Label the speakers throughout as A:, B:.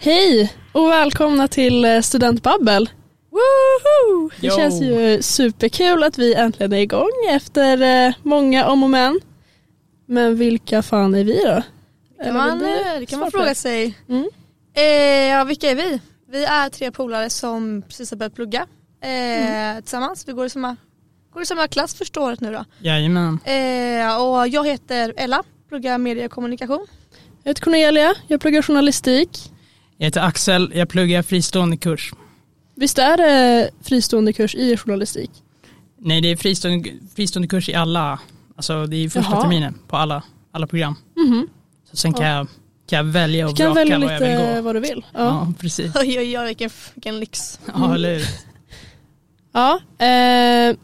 A: Hej och välkomna till eh, Studentbabbel. Woho! Det
B: Yo.
A: känns ju superkul att vi äntligen är igång efter eh, många om och men. Men vilka fan är vi då?
C: Kan
A: Eller
C: man,
A: det blir
C: eh, det kan man
A: svårt
C: fråga sig.
A: Mm.
C: Eh, ja, vilka är vi? Vi är tre polare som precis har börjat plugga eh,
A: Mm.
C: tillsammans. Vi går i, samma, går i samma klass första året nu då.
B: Jajamän.
C: Eh, och jag heter Ella, pluggar media och kommunikation.
A: Jag heter Cornelia, jag pluggar journalistik.
B: Jag heter Axel, jag pluggar fristående kurs.
A: Visst är det fristående kurs i journalistik?
B: Nej, det är fristående, fristående kurs i alla, alltså det är första
A: Jaha.
B: terminen på alla, alla program.
A: Mhm.
B: Så sen kan, jag, kan jag välja
A: Du
B: och
A: kan
B: vraka
A: välja
B: vad jag vill
A: lite
B: gå.
A: vad du vill. Ja.
B: Ja, precis.
C: Oj oj oj vilken, vilken lyx.
B: Ja, eller hur?
A: Ja, eh,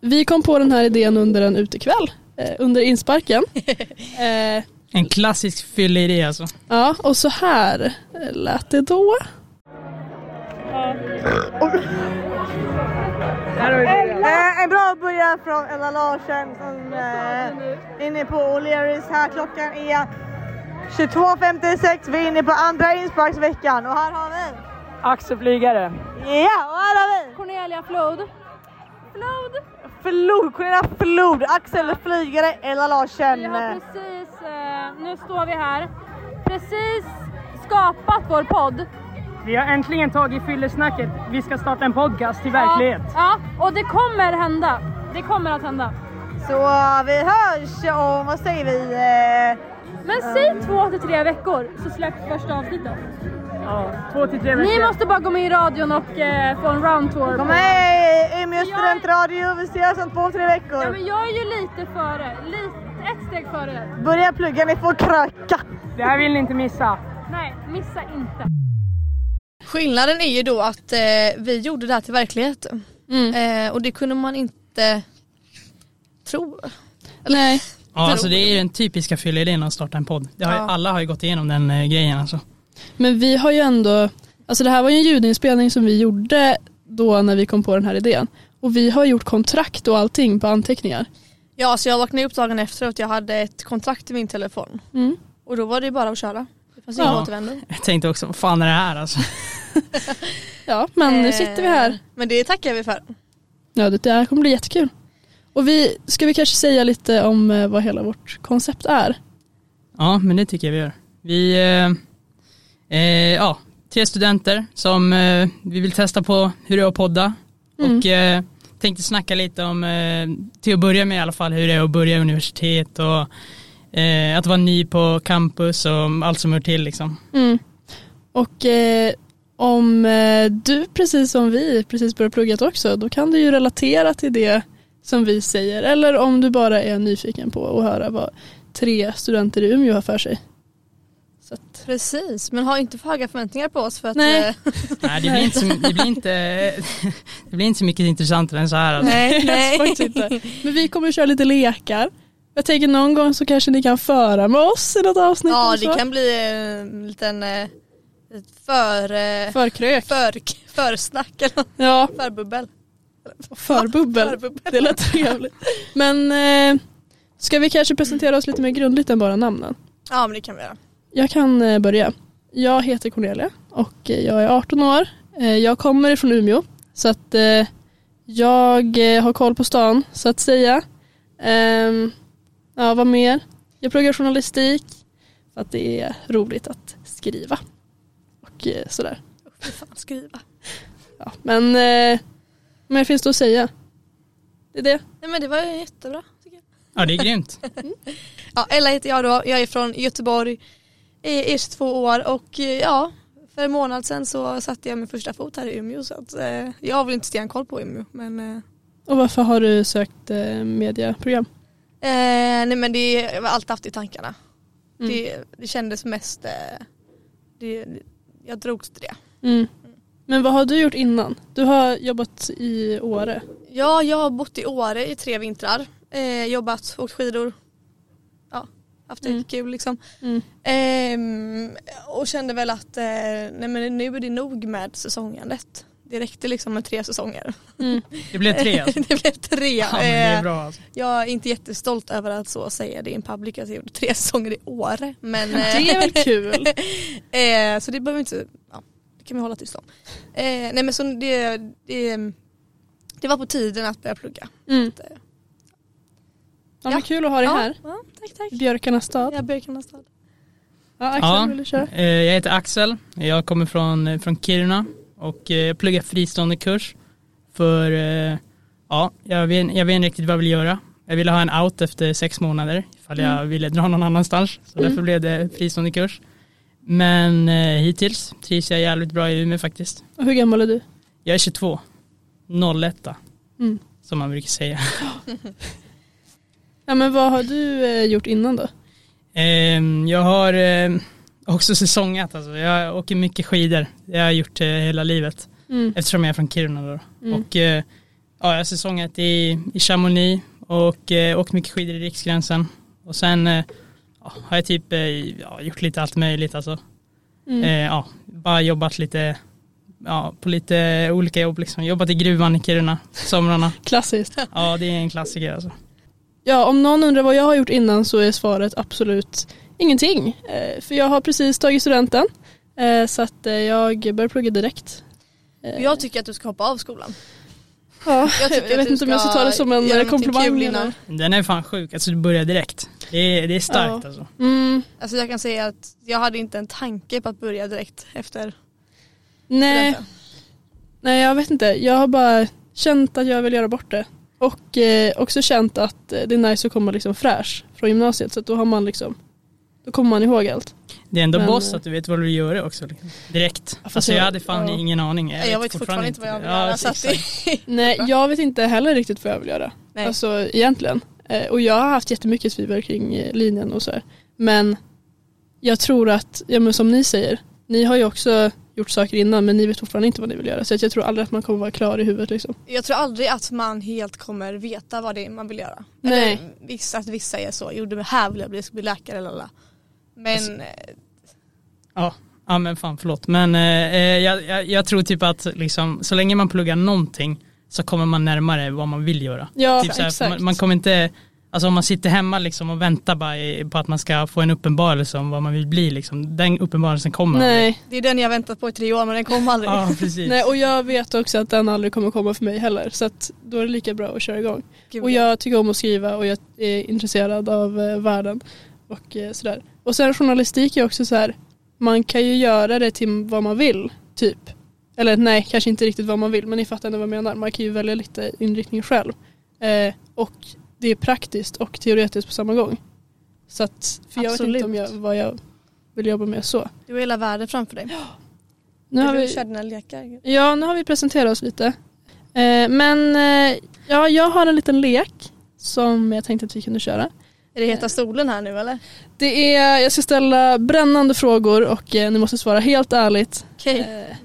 A: vi kom på den här idén under en utekväll, eh, under insparken. Eh,
B: En klassisk fylleidé alltså.
A: ja, och så här lät det då.
D: Eh, en bra början från Ella Larsen som eh, är inne på O'Learys här. Klockan är 22.56. Vi är inne på andra insparksveckan och här har vi...
E: Axel Flygare.
D: Ja, och här har vi...
F: Cornelia Flod.
D: Flod, Cornelia Flod, Axel Flygare, Ella Larsen.
F: Vi har precis, eh, nu står vi här, precis skapat vår podd.
E: Vi har äntligen tagit fyllesnacket. Vi ska starta en podcast i
F: Ja,
E: verklighet.
F: Ja, och det kommer hända. Det kommer att hända.
D: Så eh, vi hörs om, vad säger vi? Eh,
F: Men säg två till tre veckor så släpps första avsnittet.
E: Ja, två till tre
F: Ni
E: veckor.
F: måste bara gå med i radion och eh, få en roundtour.
D: kom med i Umeå studentradio, vi ses om två, tre
F: Ja,
D: veckor.
F: men jag är ju lite före, lite, ett steg före.
D: Börja plugga, ni får kröka.
E: Det här vill ni inte missa.
F: Nej, missa inte.
C: Skillnaden är ju då att eh, vi gjorde det här till verklighet
A: Mm.
C: eh, och det kunde man inte tro.
A: Nej.
B: Ja, alltså det är ju den typiska fylleidén att starta en podd. Det har, ju-
C: Ja.
B: Alla har ju gått igenom den eh, grejen alltså.
A: Men vi har ju ändå, alltså det här var ju en ljudinspelning som vi gjorde då när vi kom på den här idén. Och vi har gjort kontrakt och allting på anteckningar.
C: Ja så jag vaknade upp dagen efter att jag hade ett kontrakt i min telefon
A: Mm.
C: och då var det bara att köra. Det fanns
A: Ja.
C: ingen återvändo.
B: Jag tänkte också, vad fan är det här alltså?
A: Ja, men nu
C: Eh,
A: sitter vi här.
C: Men det tackar vi för.
A: Ja, det där kommer bli jättekul. Och vi, ska vi kanske säga lite om eh, vad hela vårt koncept är?
B: Ja, men det tycker jag vi gör. Vi, eh, eh, ja, tre studenter som eh, vi vill testa på hur det är att podda och eh, tänkte snacka lite om, eh, till att börja med i alla fall, hur det är att börja universitet och eh, att vara ny på campus och allt som hör till liksom.
A: Mm. Och eh, om eh, du precis som vi precis börjar plugget också då kan du ju relatera till det som vi säger eller om du bara är nyfiken på att höra vad tre studenter i Umeå har för sig. Så att,
C: Precis, men ha inte för höga förväntningar på oss för att
A: Nej.
C: eh,
B: Nej, det blir inte så, det blir inte, det blir inte så mycket intressantare än så här. Alltså.
C: nej,
A: Jag skojar inte. Men vi kommer att köra lite lekar. Jag tänker någon gång så kanske ni kan föra med oss i något avsnitt.
C: Ja
A: eller
C: det
A: så.
C: kan bli eh, en liten eh, ett för, eh,
A: Förkrök.
C: för, försnack eller något.
A: Ja,
C: förbubbel.
A: förbubbel.
C: förbubbel.
A: Det lät trevligt. Men eh, ska vi kanske presentera oss lite mer grundligt än bara namnen?
C: Ja men det kan vi göra.
A: Jag kan eh, börja. Jag heter Cornelia och eh, jag är 18 år. Eh, Jag kommer ifrån Umeå så att eh, jag eh, har koll på stan så att säga. Ehm, Ja, vad mer? Jag pluggar journalistik för att det är roligt att skriva och eh, sådär.
C: Fy fan skriva.
A: Ja, men eh, mer finns det att säga. Det är det.
C: Nej men det var ju jättebra. tycker jag.
B: Ja, det är grymt.
C: Ja, Ella heter jag då, jag är från Göteborg, är är 22 år och eh, ja för en månad sedan så satte jag min första fot här i Umeå så att eh, jag har väl inte stenkoll på Umeå men eh,
A: Och varför har du sökt eh, mediaprogram?
C: Eh, nej men det jag har alltid haft i tankarna.
A: Mm.
C: Det, det kändes mest, eh, det, jag drogs till det.
A: Mm. Men vad har du gjort innan? Du har jobbat i Åre.
C: Ja, jag har bott i Åre i tre vintrar. Eh, jobbat, åkt skidor. Ja, haft det
A: Mm.
C: kul liksom.
A: Mm.
C: Ehm, och kände väl att eh, nej men nu är det nog med säsongandet. det räckte liksom med tre säsonger.
B: Det blev tre alltså.
C: det blev tre.
B: Ja, men det är
C: Eh,
B: bra alltså.
C: Jag är inte jättestolt över att så säga det i en public att jag gjorde tre säsonger i år. Men,
A: Det är väl kul.
C: eh, så det behöver vi inte, ja, det kan vi hålla tyst om. Eh, nej men så det, det, det var på tiden att börja plugga.
A: Mm.
C: Så att, eh,
A: Ja,
C: Ja.
A: men kul att ha dig
C: ja,
A: här.
C: Ja, tack tack.
A: Björkarnas stad.
C: Jag Björkarnas stad.
A: Ja, Axel,
B: Ja.
A: vill du köra?
B: Eh, Jag heter Axel, jag kommer från, eh, från Kiruna och eh, jag pluggar fristående kurs. För eh, ja, jag vet, jag vet inte riktigt vad jag vill göra. Jag ville ha en out efter sex månader ifall jag
A: Mm.
B: ville dra någon annanstans. Så därför blev det fristående kurs. Men eh, hittills trivs jag jävligt bra i Umeå faktiskt.
A: Och hur gammal är du?
B: Jag är 22, 01
A: Mm.
B: som man brukar säga.
A: Ja, men vad har du eh, gjort innan då?
B: Ehm, Jag har eh, också säsongat, alltså. jag åker mycket skidor. Det har jag gjort eh, hela livet.
A: Mm.
B: Eftersom jag är från Kiruna då.
A: Mm.
B: Och eh, ja, jag har säsongat i, i Chamonix och eh, åkt mycket skidor i Riksgränsen. Och sen eh, ja, har jag typ eh, ja, gjort lite allt möjligt alltså.
A: Mm.
B: Eh, ja, bara jobbat lite ja, på lite olika jobb liksom. Jobbat i gruvan i Kiruna somrarna.
A: Klassiskt.
B: Ja, det är en klassiker alltså.
A: Ja, om någon undrar vad jag har gjort innan så är svaret absolut ingenting. Eh, för jag har precis tagit studenten. Eh, så att eh, jag börjar plugga direkt. Eh,
C: Jag tycker att du ska hoppa av skolan.
A: ja,
C: Jag, tycker
A: jag vet
C: att du
A: inte om jag ska ta det som en
C: göra någonting
A: komplimang
C: kul
A: eller-
C: innan.
B: Den är fan sjuk, alltså du börjar direkt. Det är, det är starkt
A: Ja.
B: alltså.
A: mm,
C: Alltså jag kan säga att jag hade inte en tanke på att börja direkt efter
A: nej,
C: studenten.
A: nej, jag vet inte. Jag har bara känt att jag vill göra bort det. Och eh, också känt att eh, det är nice att komma liksom fräsch från gymnasiet. Så att då har man liksom, då kommer man ihåg allt.
B: Det är ändå
A: Men,
B: boss
A: eh,
B: att du vet vad du vill göra också. Liksom. Direkt.
A: fast
B: Alltså jag
A: jag-
B: hade fan
A: ja.
B: ingen aning.
C: Jag, vet fortfarande inte vad jag vill göra.
A: Alltså,
C: så att det-
B: exakt.
A: Nej, jag vet inte heller riktigt vad jag vill göra.
C: Nej.
A: Alltså egentligen. Eh, och jag har haft jättemycket tvivel kring eh, linjen och sådär. Men jag tror att, ja men som ni säger, ni har ju också gjort saker innan men ni vet fortfarande inte vad ni vill göra. Så att jag tror aldrig att man kommer vara klar i huvudet liksom.
B: Typ
C: Jag tror aldrig att man helt kommer veta vad det är man vill göra.
A: Nej.
C: Eller vissa, att vissa är så, jo det här vill jag bli, jag ska bli läkare eller alla. Men
B: Alltså-
C: eh,
B: Ja, ja men fan förlåt. Men eh, eh, jag, jag, jag tror typ att liksom, så länge man pluggar någonting så kommer man närmare vad man vill göra.
A: Ja,
B: typ så här,
A: exakt.
B: man, man kommer inte, alltså om man sitter hemma liksom och väntar bara i, på att man ska få en uppenbarelse om vad man vill bli liksom. Den uppenbarelsen kommer aldrig.
A: nej,
C: det är den jag väntat på i tre år men den kom aldrig.
B: Ja precis.
A: nej, och jag vet också att den aldrig kommer komma för mig heller. Så att då är det lika bra att köra igång.
C: Gud,
A: Och
C: ja.
A: jag tycker om att skriva och jag är intresserad av eh, världen och eh, sådär. Och sen journalistik är också så här, man kan ju göra det till vad man vill, typ. Eller nej, kanske inte riktigt vad man vill, men ni fattar ändå vad jag menar. Man kan ju välja lite inriktning själv. Eh, och det är praktiskt och teoretiskt på samma gång. Så att, för jag vet
C: Absolut.
A: inte om jag, vad jag vill jobba med så.
C: Du har hela världen framför dig.
A: Nu har
C: du
A: vi,
C: kör dina lekar.
A: ja, nu har vi presenterat oss lite. Eh, men eh, ja, jag har en liten lek som jag tänkte att vi kunde köra.
C: Är det heta stolen här nu eller?
A: Det är, jag ska ställa brännande frågor och eh, ni måste svara helt ärligt.
C: Okej.
A: Eh,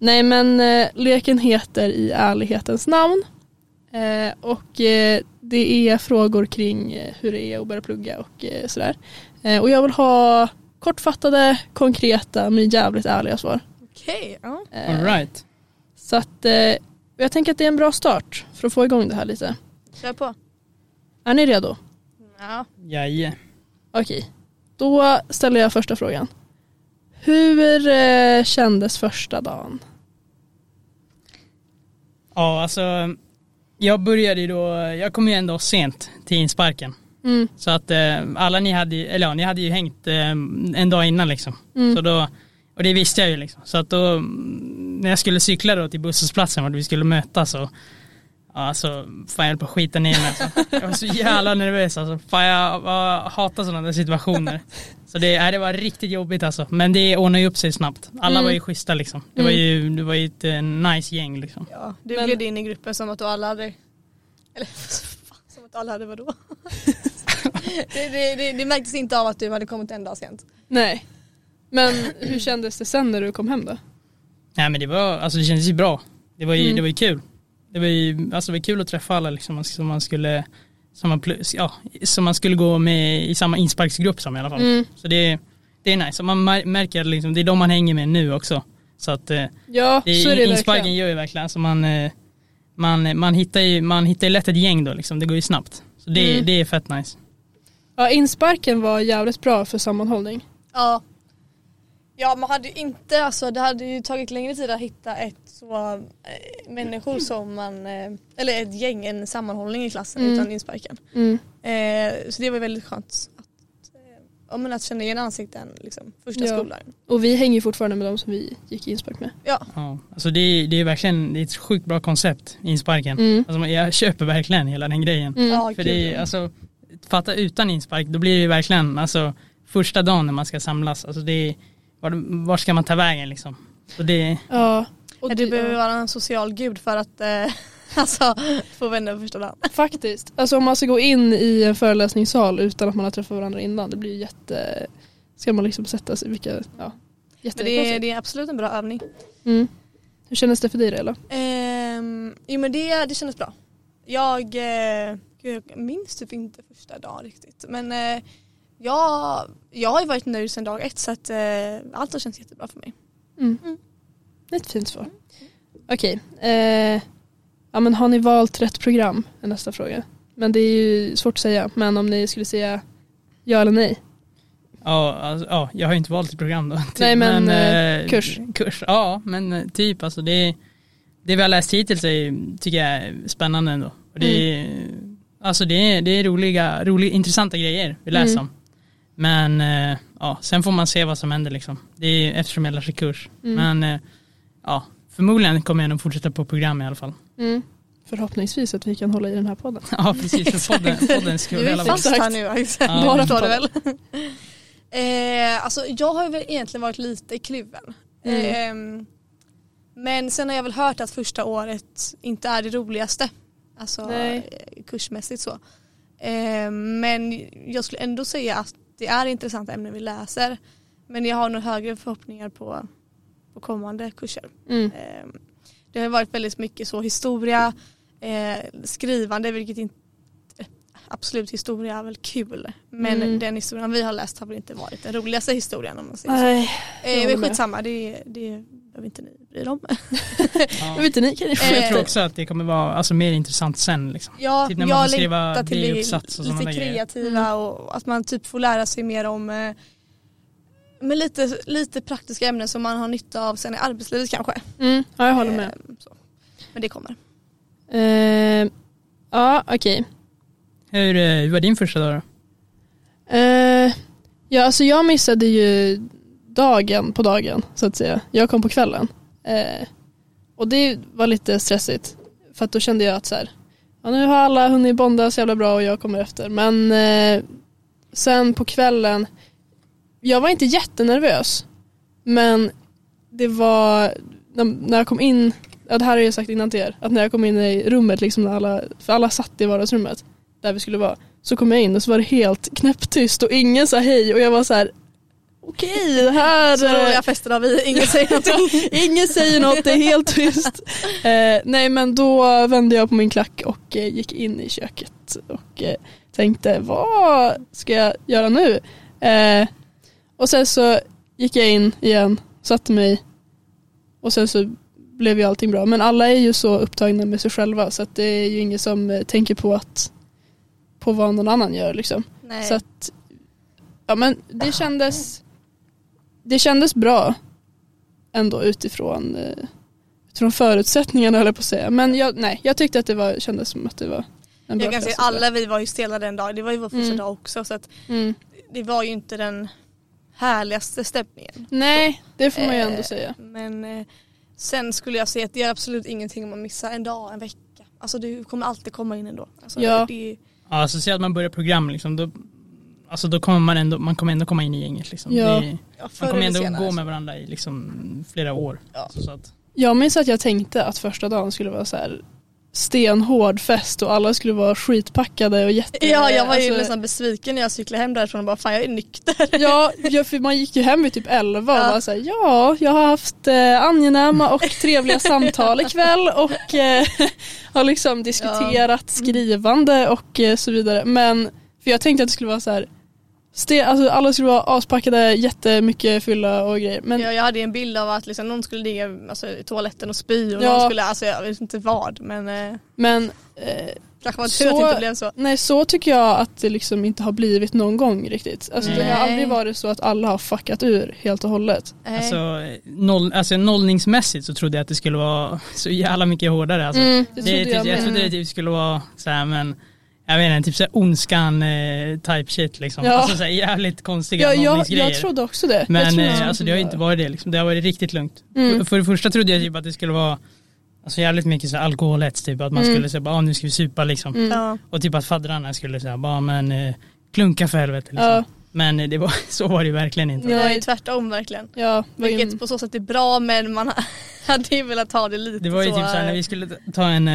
A: nej men eh, leken heter I ärlighetens namn. Eh, och eh, det är frågor kring eh, hur det är att börja plugga och eh, sådär. Eh, och jag vill ha kortfattade, konkreta men jävligt ärliga svar.
C: Okej, ja.
A: Eh,
B: All right.
A: Så att eh, jag tänker att det är en bra start för att få igång det här lite.
C: kör på.
A: Är ni redo?
C: Ja.
B: Jaje.
A: Okej, då ställer jag första frågan. Hur eh, kändes första dagen?
B: Ja alltså, jag började ju då, jag kom ju ändå sent till insparken.
A: Mm,
B: Så att eh, alla ni hade ju, eller ja, ni hade ju hängt eh, en dag innan liksom.
A: mm,
B: Så då, och det visste jag ju liksom. Så att då, mm, när jag skulle cykla då till busshållplatsen vart vi skulle mötas och ja, alltså, fan jag höll på att skita ner mig alltså. Jag var så jävla nervös alltså. Fan jag, jag hatar sådana där situationer. Så det, nej, det var riktigt jobbigt alltså. Men det ordnade ju upp sig snabbt. Alla
A: Mm.
B: var ju schyssta liksom. Det var ju, det var ju ett eh, nice gäng liksom.
C: ja. Du
A: Men-
C: bjöd in i gruppen som att du alla hade... Eller fan, som att alla hade vadå? det, det, det, det märktes inte av att du hade kommit en dag sent.
A: nej. Men hur kändes det sen när du kom hem då?
B: Nej men det var, alltså det kändes ju bra. Det var ju,
A: Mm.
B: det var ju kul. Det var ju, alltså det var kul att träffa alla liksom som man skulle, som man, pl- ja, som man skulle gå med i samma
A: Mm.
B: insparksgrupp som i alla fall. Så det, det är nice. Och Man mär- märker liksom, det är de man hänger med nu också. Så att eh,
A: Ja,
B: det,
A: så är det
B: insparken
A: verkligen.
B: gör ju verkligen, alltså man, eh, man, man, hittar ju, man hittar ju lätt ett gäng då liksom, det går ju snabbt. Så det,
A: Mm.
B: det är fett nice.
A: Ja, insparken var jävligt bra för sammanhållning.
C: Ja. Ja man hade ju inte, alltså det hade ju tagit längre tid att hitta ett så, eh, människor som man, eh, eller ett gäng, en sammanhållning i klassen
A: Mm.
C: utan insparken. Eh, så det var väldigt skönt att, eh, ja, men att känna igen ansikten liksom, första
A: Ja.
C: skoldagen.
A: Och vi hänger ju fortfarande med de som vi gick inspark med.
B: Ja. Alltså det, är- det är verkligen det är ett sjukt bra koncept, insparken.
A: Mm.
B: Alltså, man- jag köper verkligen hela den grejen.
A: Mm.
C: Ja,
B: För
C: gud,
B: det är,
C: ja.
B: alltså, fatta utan inspark, då blir det verkligen alltså, första dagen när man ska samlas, alltså, det är, var, var ska man ta vägen liksom? Så det,
A: Ja. Och
C: Ja,
A: det-
C: du behöver vara en social gud för att eh, alltså, få vänner på första dagen.
A: Faktiskt. Alltså om man ska gå in i en föreläsningssal utan att man har träffat varandra innan, det blir ju jätte... Ska man liksom sätta sig, vilka... Ja.
C: Men det är,
A: Jättekonstigt.
C: det är absolut en bra övning.
A: Mm. Hur kändes det för dig Rela?
C: Ehm, jo men det, det kändes bra. Jag, eh, gud, jag minns typ inte första dagen riktigt men eh, jag, jag har ju varit nöjd sedan dag ett så att eh, allt har känts jättebra för mig.
A: Det är ett fint svar. Mm. Okej. Eh, ja, men har ni valt rätt program? Är nästa fråga. Men det är ju svårt att säga. Men om ni skulle säga ja eller nej?
B: ja, alltså, ja, jag har ju inte valt ett program då. typ,
A: Nej, men,
B: eh,
A: kurs.
B: Kurs, ja men eh, typ alltså det, det vi har läst hittills är, tycker jag är spännande ändå. Och det,
A: Mm.
B: är, alltså, det, är, det är roliga, roliga, intressanta grejer vi läser
A: Mm.
B: om. Men eh, ja, sen får man se vad som händer liksom. Det är eftersom jag läser kurs.
A: Mm.
B: Men eh, ja, förmodligen kommer jag nog fortsätta på program i alla fall.
A: Mm. Förhoppningsvis att vi kan hålla i den här podden.
B: Ja precis, för podden, poddens skull.
C: Du är
B: alla
C: fast
A: Exakt.
C: här nu Axel,
B: Ja.
C: bara förstår du väl. eh, alltså jag har ju väl egentligen varit lite kluven.
A: Mm.
C: Ehm, men sen har jag väl hört att första året inte är det roligaste. Alltså
A: Nej.
C: eh, kursmässigt så. Ehm, men jag skulle ändå säga att det är intressanta ämnen vi läser. Men jag har nog högre förhoppningar på, på kommande kurser.
A: Mm.
C: Ehm, Det har varit väldigt mycket så historia, eh, skrivande vilket inte Absolut historia är väl kul men
A: Mm.
C: den historien vi har läst har väl inte varit den roligaste historien om man säger så.
A: Nej,
C: Eh,
A: håller
C: men
A: med.
C: skitsamma det, det behöver inte ni bry er om.
A: jag vet inte, ni kan ju
B: Men jag
C: Eh,
B: tror också att det kommer vara alltså, mer intressant sen. Liksom.
C: Ja,
B: Typ när man
C: jag
B: får skriva
C: längtar till
B: DI-uppsats och sådana
C: lite
B: där grejer.
C: kreativa
A: Mm.
C: och att man typ får lära sig mer om eh, men lite, lite praktiska ämnen som man har nytta av sen i arbetslivet kanske.
A: Mm. Ja, jag håller med.
C: Eh, så. Men det kommer.
A: Eh, ja, okej.
B: Hur, eh, hur var din första dag då?
A: Eh, ja, alltså jag missade ju dagen på dagen så att säga. Jag kom på kvällen. Eh, och det var lite stressigt. För att då kände jag att så här, ja, nu har alla hunnit bonda så jävla bra och jag kommer efter. Men eh, sen på kvällen, jag var inte jättenervös. Men det var, när, när jag kom in, ja, det här har jag ju sagt innan till er, att när jag kom in i rummet, liksom när alla, för alla satt i vardagsrummet där vi skulle vara så kom jag in och så var det helt knäpptyst och ingen sa hej och jag var så här okej det här
C: Så roliga fester har vi, ingen säger någonting.
A: ingen säger något det är helt tyst. Eh, nej men då vände jag på min klack och eh, gick in i köket och eh, tänkte vad ska jag göra nu? Eh, och sen så gick jag in igen, satte mig och sen så blev ju allting bra. Men alla är ju så upptagna med sig själva så att det är ju ingen som eh, tänker på att på vad någon annan gör liksom.
C: Nej.
A: Så att, ja men det kändes, det kändes bra ändå utifrån, eh, utifrån förutsättningarna höll jag på att säga. Men jag, nej, jag tyckte att det var, kändes som att det var en bra
C: Jag kan säga
A: klass och sådär.
C: alla vi var ju stela den dagen, det var ju vår första
A: Mm.
C: dag också så att
A: Mm.
C: det var ju inte den härligaste stämningen.
A: Nej, det får man ju ändå
C: Eh,
A: säga.
C: Men eh, sen skulle jag säga att det är absolut ingenting om man missar en dag, en vecka. Alltså du kommer alltid komma in ändå. Alltså,
A: Ja.
C: det,
B: Ja, alltså, säg att man börjar program, liksom, då, alltså, då kommer man ändå, man kommer ändå komma in i gänget. Liksom.
A: Ja.
B: Det,
C: ja, förr
B: man kommer
C: eller
B: ändå
C: senare. alltså.
B: gå med varandra i liksom, flera år.
C: Ja.
B: Så, så att,
A: Jag minns att jag tänkte att första dagen skulle vara så här stenhård fest och alla skulle vara skitpackade och jätte...
C: Ja jag var ju
A: alltså-
C: nästan besviken när jag cyklade hem därifrån och bara fan jag är nykter.
A: Ja, ja, för man gick ju hem vid typ 11 och
C: Ja.
A: var såhär, ja, jag har haft eh, angenäma och trevliga samtal ikväll och eh, har liksom diskuterat skrivande och eh, så vidare. Men, för jag tänkte att det skulle vara så här Ste- alltså, alla skulle vara aspackade, jättemycket fylla och grejer. Men
C: Jag, jag hade en bild av att liksom någon skulle ligga alltså, i toaletten och spy och
A: Ja.
C: någon skulle, alltså, jag vet inte vad men eh,
A: Men eh,
C: kanske var
A: Så-
C: tur att det inte blev så.
A: nej, så tycker jag att det liksom inte har blivit någon gång riktigt. Alltså, det har
C: Nej.
A: aldrig varit så att alla har fuckat ur helt och hållet.
C: Nej.
B: Alltså, noll, alltså nollningsmässigt så trodde jag att det skulle vara så jävla mycket hårdare.
C: Mm.
B: Alltså.
A: Det
B: Det,
A: trodde
B: är typ, jag,
A: jag med.
B: trodde det typ skulle vara så här, men jag vet inte, typ så här ondskan eh, type shit liksom.
A: Ja.
B: Alltså så här, jävligt konstiga
A: Ja, jag,
B: nollningsgrejer.
A: jag trodde också det. jag
B: men
A: trodde
B: eh,
A: skulle
B: alltså, det har ju
A: vara-
B: inte varit det liksom. Det har varit riktigt lugnt.
A: Mm.
B: För, för det första trodde jag typ att det skulle vara alltså, jävligt mycket så här, alkoholhets typ. Att man
A: Mm.
B: skulle säga bara, "Ah, nu ska vi supa liksom.
A: Mm.
C: Ja.
B: Och typ att faddrarna skulle säga bara, men eh, klunka för helvete liksom.
A: Ja,
B: Men eh, det var, så var det ju verkligen inte.
A: Ja.
C: Nej, tvärtom verkligen.
A: ja, vad
C: Vilket
A: in-
C: på så sätt är bra men man hade ju velat ha det lite
B: Det var ju
C: så.
B: typ såhär
C: eh,
B: när vi skulle ta en,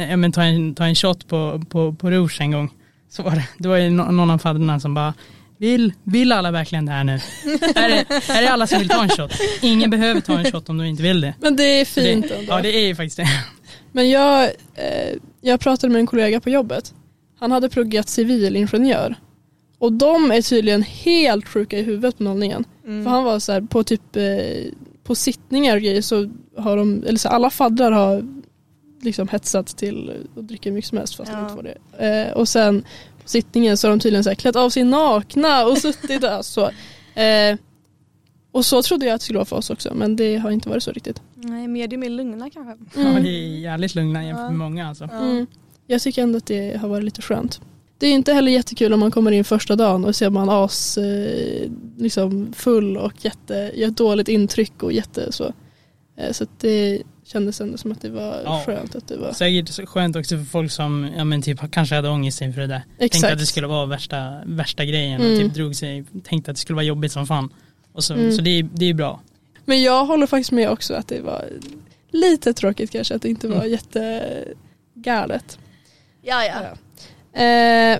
B: eh, ja, men ta en, ta en shot på, på, på Rouge en gång. Så var det, det var ju no- någon av fadderna som bara vill, vill alla verkligen det här nu? är, det, är det alla som vill ta en shot? Ingen behöver ta en shot om de inte vill det.
A: men det är
B: Så
A: fint
B: det,
A: ändå.
B: Ja det är ju faktiskt det.
A: Men jag, eh, jag pratade med en kollega på jobbet. Han hade pluggat civilingenjör. Och de är tydligen helt sjuka i huvudet på nollningen. För han var så här, på typ eh, på sittningar och grejer så har de, eller så här, alla faddrar har liksom hetsat till och dricker mycket som helst fast
C: Ja.
A: de inte var det. Eh, och sen på sittningen så har de tydligen så här, klätt av sig nakna och suttit där. Så, eh, och så trodde jag att det skulle vara för oss också men det har inte varit så riktigt.
C: Nej, medium är lugna kanske.
B: Ja,
A: Mm.
B: det är jävligt lugna jämfört med många alltså.
A: Mm. Jag tycker ändå att det har varit lite skönt. Det är ju inte heller jättekul om man kommer in första dagen och ser man as eh, liksom full och jätte, gör ett dåligt intryck och jätte så. Eh, så att det kändes ändå som att det var
B: Ja.
A: skönt att det var.
B: Säkert så skönt också för folk som ja, men typ, kanske hade ångest inför det där. Tänkte att det skulle vara värsta, värsta grejen
A: Mm.
B: och typ drog sig, tänkte att det skulle vara jobbigt som fan. Och så,
A: Mm.
B: så det, är- det är ju bra.
A: Men jag håller faktiskt med också att det var lite tråkigt kanske att det inte var
B: Mm.
A: jättegalet.
C: Ja, ja.
A: Ja. Eh,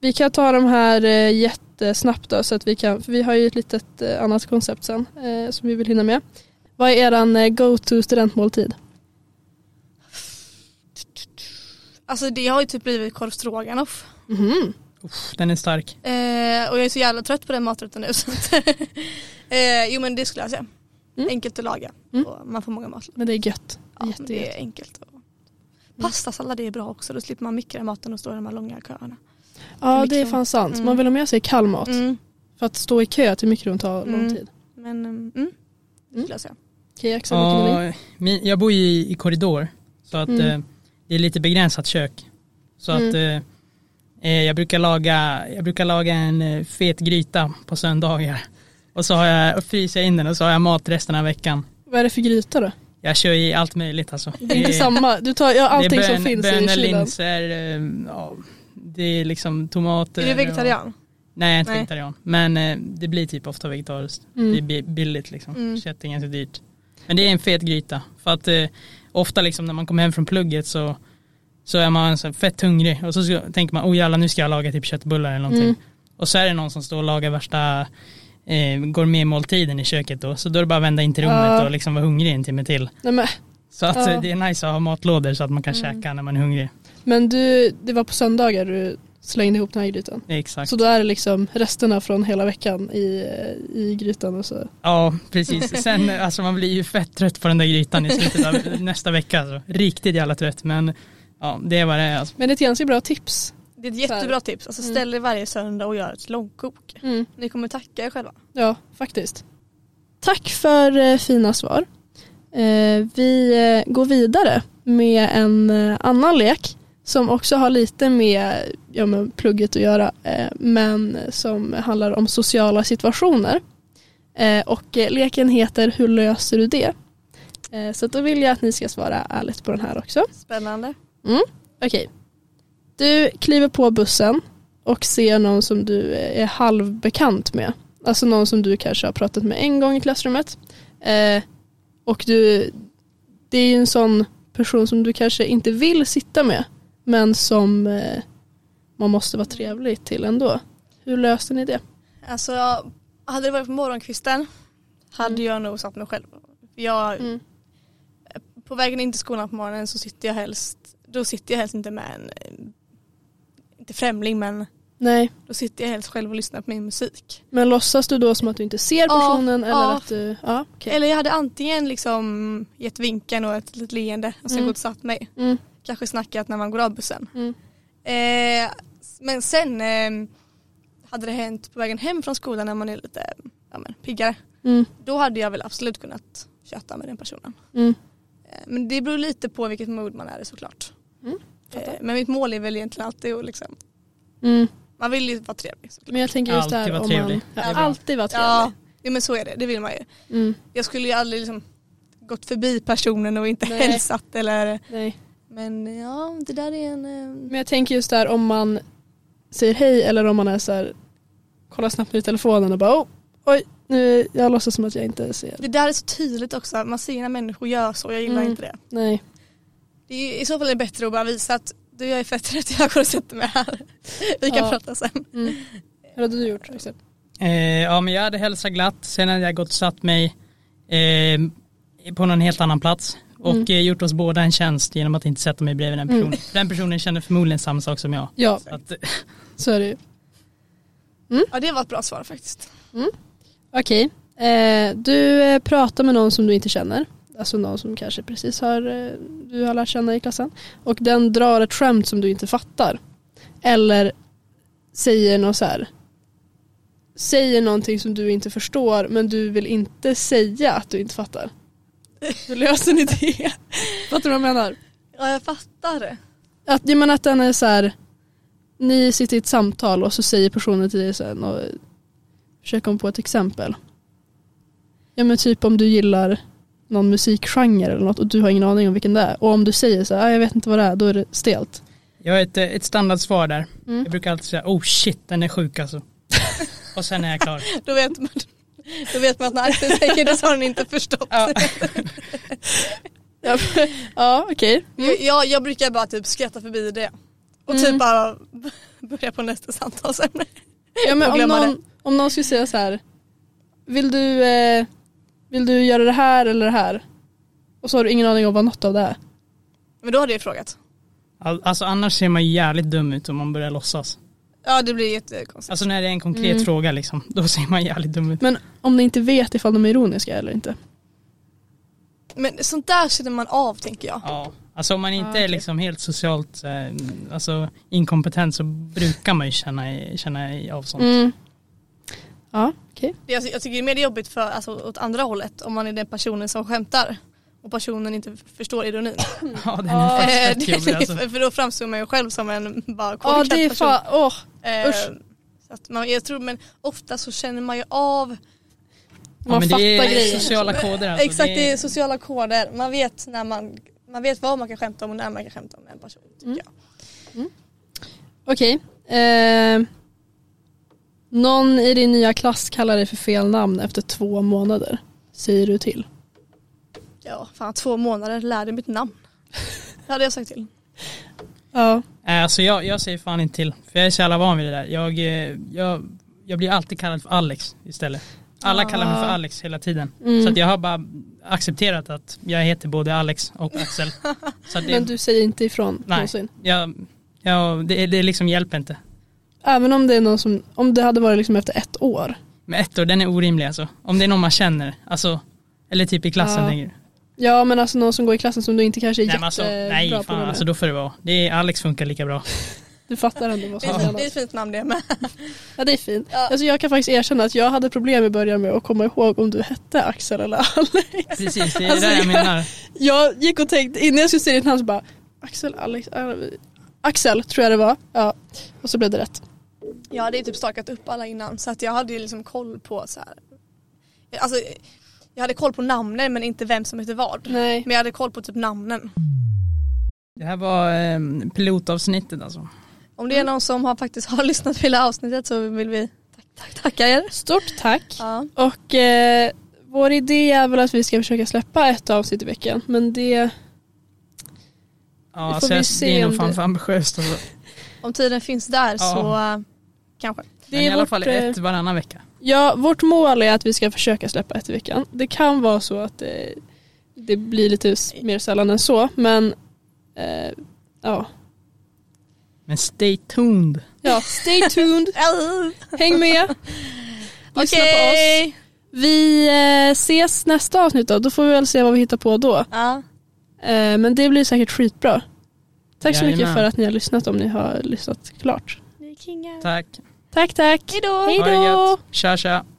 A: vi kan ta de här eh, jättesnabbt då, så att vi kan, för vi har ju ett litet eh, annat koncept sen eh, som vi vill hinna med. Vad är eran eh, go-to studentmåltid?
C: Alltså det har ju typ blivit korv stroganoff.
A: Mhm.
B: Uff, den är stark.
C: Eh, och jag är så jävla trött på den maträtten nu. Så att, eh, jo men det skulle jag säga.
A: Mm.
C: Enkelt att laga
A: Mm.
C: och man får många maträtter.
A: Men det är gött.
C: Ja, men
A: Jättegött.
C: det är enkelt. Och... Pastasallad är bra också, då slipper man mikra maten och stå i de här långa köerna.
A: Ja det är
C: Mikron.
A: fan sant.
C: Mm.
A: Man vill ha med sig kall mat.
C: Mm.
A: För att stå i kö till mikron tar lång
C: Mm.
A: tid.
C: Men mm, mm, det
A: Mm.
C: skulle jag säga.
A: Okej Axel, vilken är din?
B: Ja, min, jag bor ju i, i korridor så att
A: Mm.
B: eh, det är lite begränsat kök. Så
A: Mm.
B: att eh, eh, jag, brukar laga, jag brukar laga en eh, fet gryta på söndagar. Och så har jag, och fryser jag in den och så har jag mat resten av veckan.
A: Vad är det för gryta då?
B: Jag kör i allt möjligt alltså.
A: Det är inte samma. Du tar ja, allting
B: det är
A: som finns i
B: bönor,
A: kylen.
B: linser, eh, ja, det är liksom tomater.
C: Är du
B: och-
C: vegetarian?
B: Nej jag är inte
C: Nej.
B: vegetarian. Men eh, det blir typ ofta vegetariskt.
A: Mm.
B: Det är bi- billigt liksom.
C: Mm.
B: Kätting är så dyrt. Men det är en fet gryta. För att eh, ofta liksom när man kommer hem från plugget så, så är man så här fett hungrig. Och så ska, tänker man, oh jävlar nu ska jag laga typ köttbullar eller någonting.
A: Mm.
B: Och så är det någon som står och lagar värsta eh, gourmetmåltiden i köket då. Så då är det bara att vända in till rummet
A: Ja.
B: och liksom vara hungrig en timme till.
A: Nej, men,
B: Så att,
A: Ja. Mm.
B: eh, det är nice att ha matlådor så att man kan käka när man är hungrig.
A: men du, det var på söndagar du slängde ihop den här grytan?
B: Exakt.
A: Så då är det liksom resterna från hela veckan i, eh, i grytan och så.
B: Ja, precis. Sen, alltså man blir ju fett trött på den där grytan i slutet av nästa vecka. Alltså. Riktigt jävla trött, men ja, det är vad det är. Alltså.
A: Men det är ett ganska bra tips.
C: Det är ett jättebra tips. Alltså ställ dig varje söndag och gör ett långkok. Ni kommer tacka er själva.
A: Mm. Ja, faktiskt. Tack för eh, fina svar. Eh, vi eh, går vidare med en eh, annan lek som också har lite med, ja, med plugget att göra eh, men som handlar om sociala situationer. Eh, och eh, leken heter Hur löser du det? Eh, så att då vill jag att ni ska svara ärligt på den här också.
C: Spännande.
A: Okej. Du kliver på bussen och ser någon som du är halvbekant med. Alltså någon som du kanske har pratat med en gång i klassrummet. Eh, och du, det är ju en sån person som du kanske inte vill sitta med men som eh, man måste vara trevlig till ändå. Hur löste ni det?
C: Alltså hade det varit på morgonkvisten hade jag nog satt mig själv. Jag,
A: Mm.
C: På vägen in till skolan på morgonen så sitter jag helst, då sitter jag helst inte med en, eh, inte främling men
A: Nej,
C: Då sitter jag helst själv och lyssnar på min musik.
A: men låtsas du då som att du inte ser
C: Ja,
A: personen eller
C: ja.
A: att du... Ja, okej.
C: Eller jag hade antingen liksom gett vinken och ett litet leende och sen
A: Mm.
C: gått och satt mig.
A: Mm.
C: Kanske snackat när man går av bussen.
A: Mm.
C: Eh, men sen eh, hade det hänt på vägen hem från skolan när man är lite ja, men, piggare.
A: Mm.
C: Då hade jag väl absolut kunnat köta med den personen.
A: Mm.
C: Eh, men det beror lite på vilket mood man är i såklart.
A: Mm,
C: Eh, men mitt mål är väl egentligen alltid att liksom,
A: Mm.
C: man vill ju vara trevlig. Såklart.
A: Men jag tänker just det här
B: Alltid vara
A: om
B: trevlig.
A: man... Ja,
C: Det är bra.
A: alltid vara trevlig.
C: Ja, jo, men så är det, det vill man ju.
A: Mm.
C: Jag skulle ju aldrig liksom gått förbi personen och inte
A: Nej.
C: hälsat eller
A: Nej.
C: Men ja, det där är en... eh,
A: Men jag tänker just där om man säger hej eller om man är så här, kollar snabbt i telefonen och bara oh, oj, nu, jag låtsas som att jag inte ser.
C: Det där är så tydligt också, man ser när människor gör så, jag gillar
A: Mm.
C: inte det.
A: Nej.
C: Det är i så fall är det bättre att bara visa att du jag är fett trött, jag går och sätter mig här. Vi kan
A: Ja.
C: prata sen.
A: Mm. Hur hade du gjort? Axel?
B: Eh, ja men jag hade hälsat glatt, sen hade jag gått och satt mig eh, på någon helt annan plats och
A: Mm.
B: eh, gjort oss båda en tjänst genom att inte sätta mig bredvid den personen. För Den personen känner förmodligen samma sak som jag.
A: Ja,
B: Så att,
A: så är det ju.
C: Ja det var ett bra svar faktiskt.
A: Okej, eh, du eh, pratar med någon som du inte känner. Alltså någon som kanske precis har, eh, du har lärt känna i klassen. Och den drar ett skämt som du inte fattar. Eller säger något så här. Säger någonting som du inte förstår men du vill inte säga att du inte fattar. Hur löser ni det? Fattar du vad jag menar?
C: Ja jag fattar det.
A: Att, jag menar att den är så här. Ni sitter i ett samtal och så säger personen till dig sen och försöker komma på ett exempel. Ja men typ om du gillar någon musikgenre eller något och du har ingen aning om vilken det är. Och om du säger så här, "Ah, jag vet inte vad det är, då är det stelt.
B: jag har ett, eh, ett standardsvar där.
A: Mm.
B: Jag brukar alltid säga oh shit den är sjuk alltså. och sen är jag klar.
C: Då vet man, då vet man att när Axel säger det så har den inte förstått.
B: Ja.
A: Ja, ja okej.
C: Jag, Mm. jag brukar bara typ skratta förbi det. Och
A: Mm.
C: typ bara börja på nästa samtalsämne.
A: Ja, men
C: Och
A: om,
C: glömma
A: någon, om någon skulle säga så här, vill du, eh, vill du göra det här eller det här? Och så har du ingen aning om vad något av det är.
C: Men då hade jag ju frågat.
B: All- Alltså annars ser man ju jävligt dum ut om man börjar låtsas.
C: Ja det blir jättekonstigt.
B: Alltså när det är en konkret
A: Mm.
B: fråga liksom, då ser man jävligt dum ut.
A: Men om ni inte vet ifall de är ironiska eller inte.
C: Men sånt där känner man av tänker jag.
B: Ja, alltså om man inte
A: Ja, okej.
B: är liksom helt socialt eh, alltså, inkompetent så brukar man ju känna, känna i- av sånt.
A: Mm. Ja, okej.
C: Det- Jag, jag tycker det är mer jobbigt för, alltså, åt andra hållet om man är den personen som skämtar och personen inte f- förstår ironin.
B: Ja, den är
C: Eh,
B: faktiskt
C: det,
B: rätt jobbig alltså.
C: för, för då framstår man ju själv som en bara
A: Ja,
C: korkad
A: det är
C: person.
A: fan, åh.
C: Eh,
A: usch.
C: så att man, jag tror, men ofta så känner man ju av,
A: man
B: Ja, men det
A: fattar
B: är
A: grejer.
B: sociala koder alltså.
C: exakt
B: det
C: det är sociala koder, man vet när man man vet vad man kan skämta om och när man kan skämta om en person. Tycker
A: Mm.
C: jag.
A: Okej. Eh, någon i din nya klass kallar dig för fel namn efter två månader. Säger du till?
C: Ja, fan två månader, lär dig mitt namn. Det hade jag sagt till.
A: Ja.
B: Eh, Alltså jag, jag säger fan inte till, för jag är så jävla van vid det där. Jag, eh, jag, jag blir alltid kallad för Alex istället. Alla kallar mig för Alex hela tiden.
A: Ah. Mm.
B: Så att jag har bara accepterat att jag heter både Alex och Axel. Så att det,
A: Men du säger inte ifrån
B: Nej.
A: någonsin?
B: jag, jag, det, det liksom hjälper inte.
A: Även om det är någon som, om det hade varit liksom efter ett år?
B: Men ett år, den är orimlig alltså. Om det är någon man känner, alltså, eller typ i klassen
A: Ja.
B: tänker du.
A: Ja men alltså någon som går i klassen som du inte kanske är
B: Nej,
A: jättebra
B: men alltså, nej
A: på
B: fan,
A: namn.
B: alltså då får det vara. Det är, Alex funkar lika bra.
A: Du fattar ändå vad
C: Det
A: som
C: är,
A: menas.
C: det är ett fint namn det med.
A: Ja det är fint.
C: Ja.
A: Alltså, jag kan faktiskt erkänna att jag hade problem i början med att komma ihåg om du hette Axel eller Alex.
B: Precis, det är
A: Alltså,
B: det jag
A: jag-
B: menar.
A: Jag gick och tänkte, innan jag skulle säga ditt namn så bara Axel, Alex, äh, Axel tror jag det var. Ja. Och så blev det rätt.
C: Jag hade ju typ stakat upp alla innan så att jag hade ju liksom koll på så här. Alltså jag hade koll på namnen men inte vem som hette vad.
A: Nej.
C: Men jag hade koll på typ namnen.
B: Det här var eh, pilotavsnittet alltså.
C: Om det är någon som har faktiskt har lyssnat på hela avsnittet så vill vi tack, tack, tacka er.
A: Stort tack.
C: Ja.
A: Och eh, vår idé är väl att vi ska försöka släppa ett avsnitt i veckan. Men det,
B: Ja,
A: får
B: alltså,
A: vi
B: jag-
A: se
B: det är
A: om
B: nog fan
A: det-
B: för ambitiöst alltså.
C: Om tiden finns där
B: Ja.
C: så eh, kanske.
A: det
B: Men i
A: är
B: alla
A: vårt,
B: fall
A: eh,
B: ett varannan vecka.
A: Ja, vårt mål är att vi ska försöka släppa ett i veckan. Det kan vara så att eh, det blir lite s- mer sällan än så. Men eh, ja,
B: Men stay tuned.
A: Ja, stay tuned.
C: Äh,
A: Häng med. Lyssna på oss.
C: Okej.
A: Vi eh, ses nästa avsnitt då. Då får vi väl se vad vi hittar på då.
C: Ja.
A: Eh, men det blir säkert skitbra. Tack så mycket
B: Jajamän.
A: för att ni har lyssnat om ni har lyssnat klart.
C: Ni är kingar.
B: Tack.
A: Tack, tack.
C: Hejdå.
A: Hej
B: Ha det
A: då.
B: gött. Tja tja.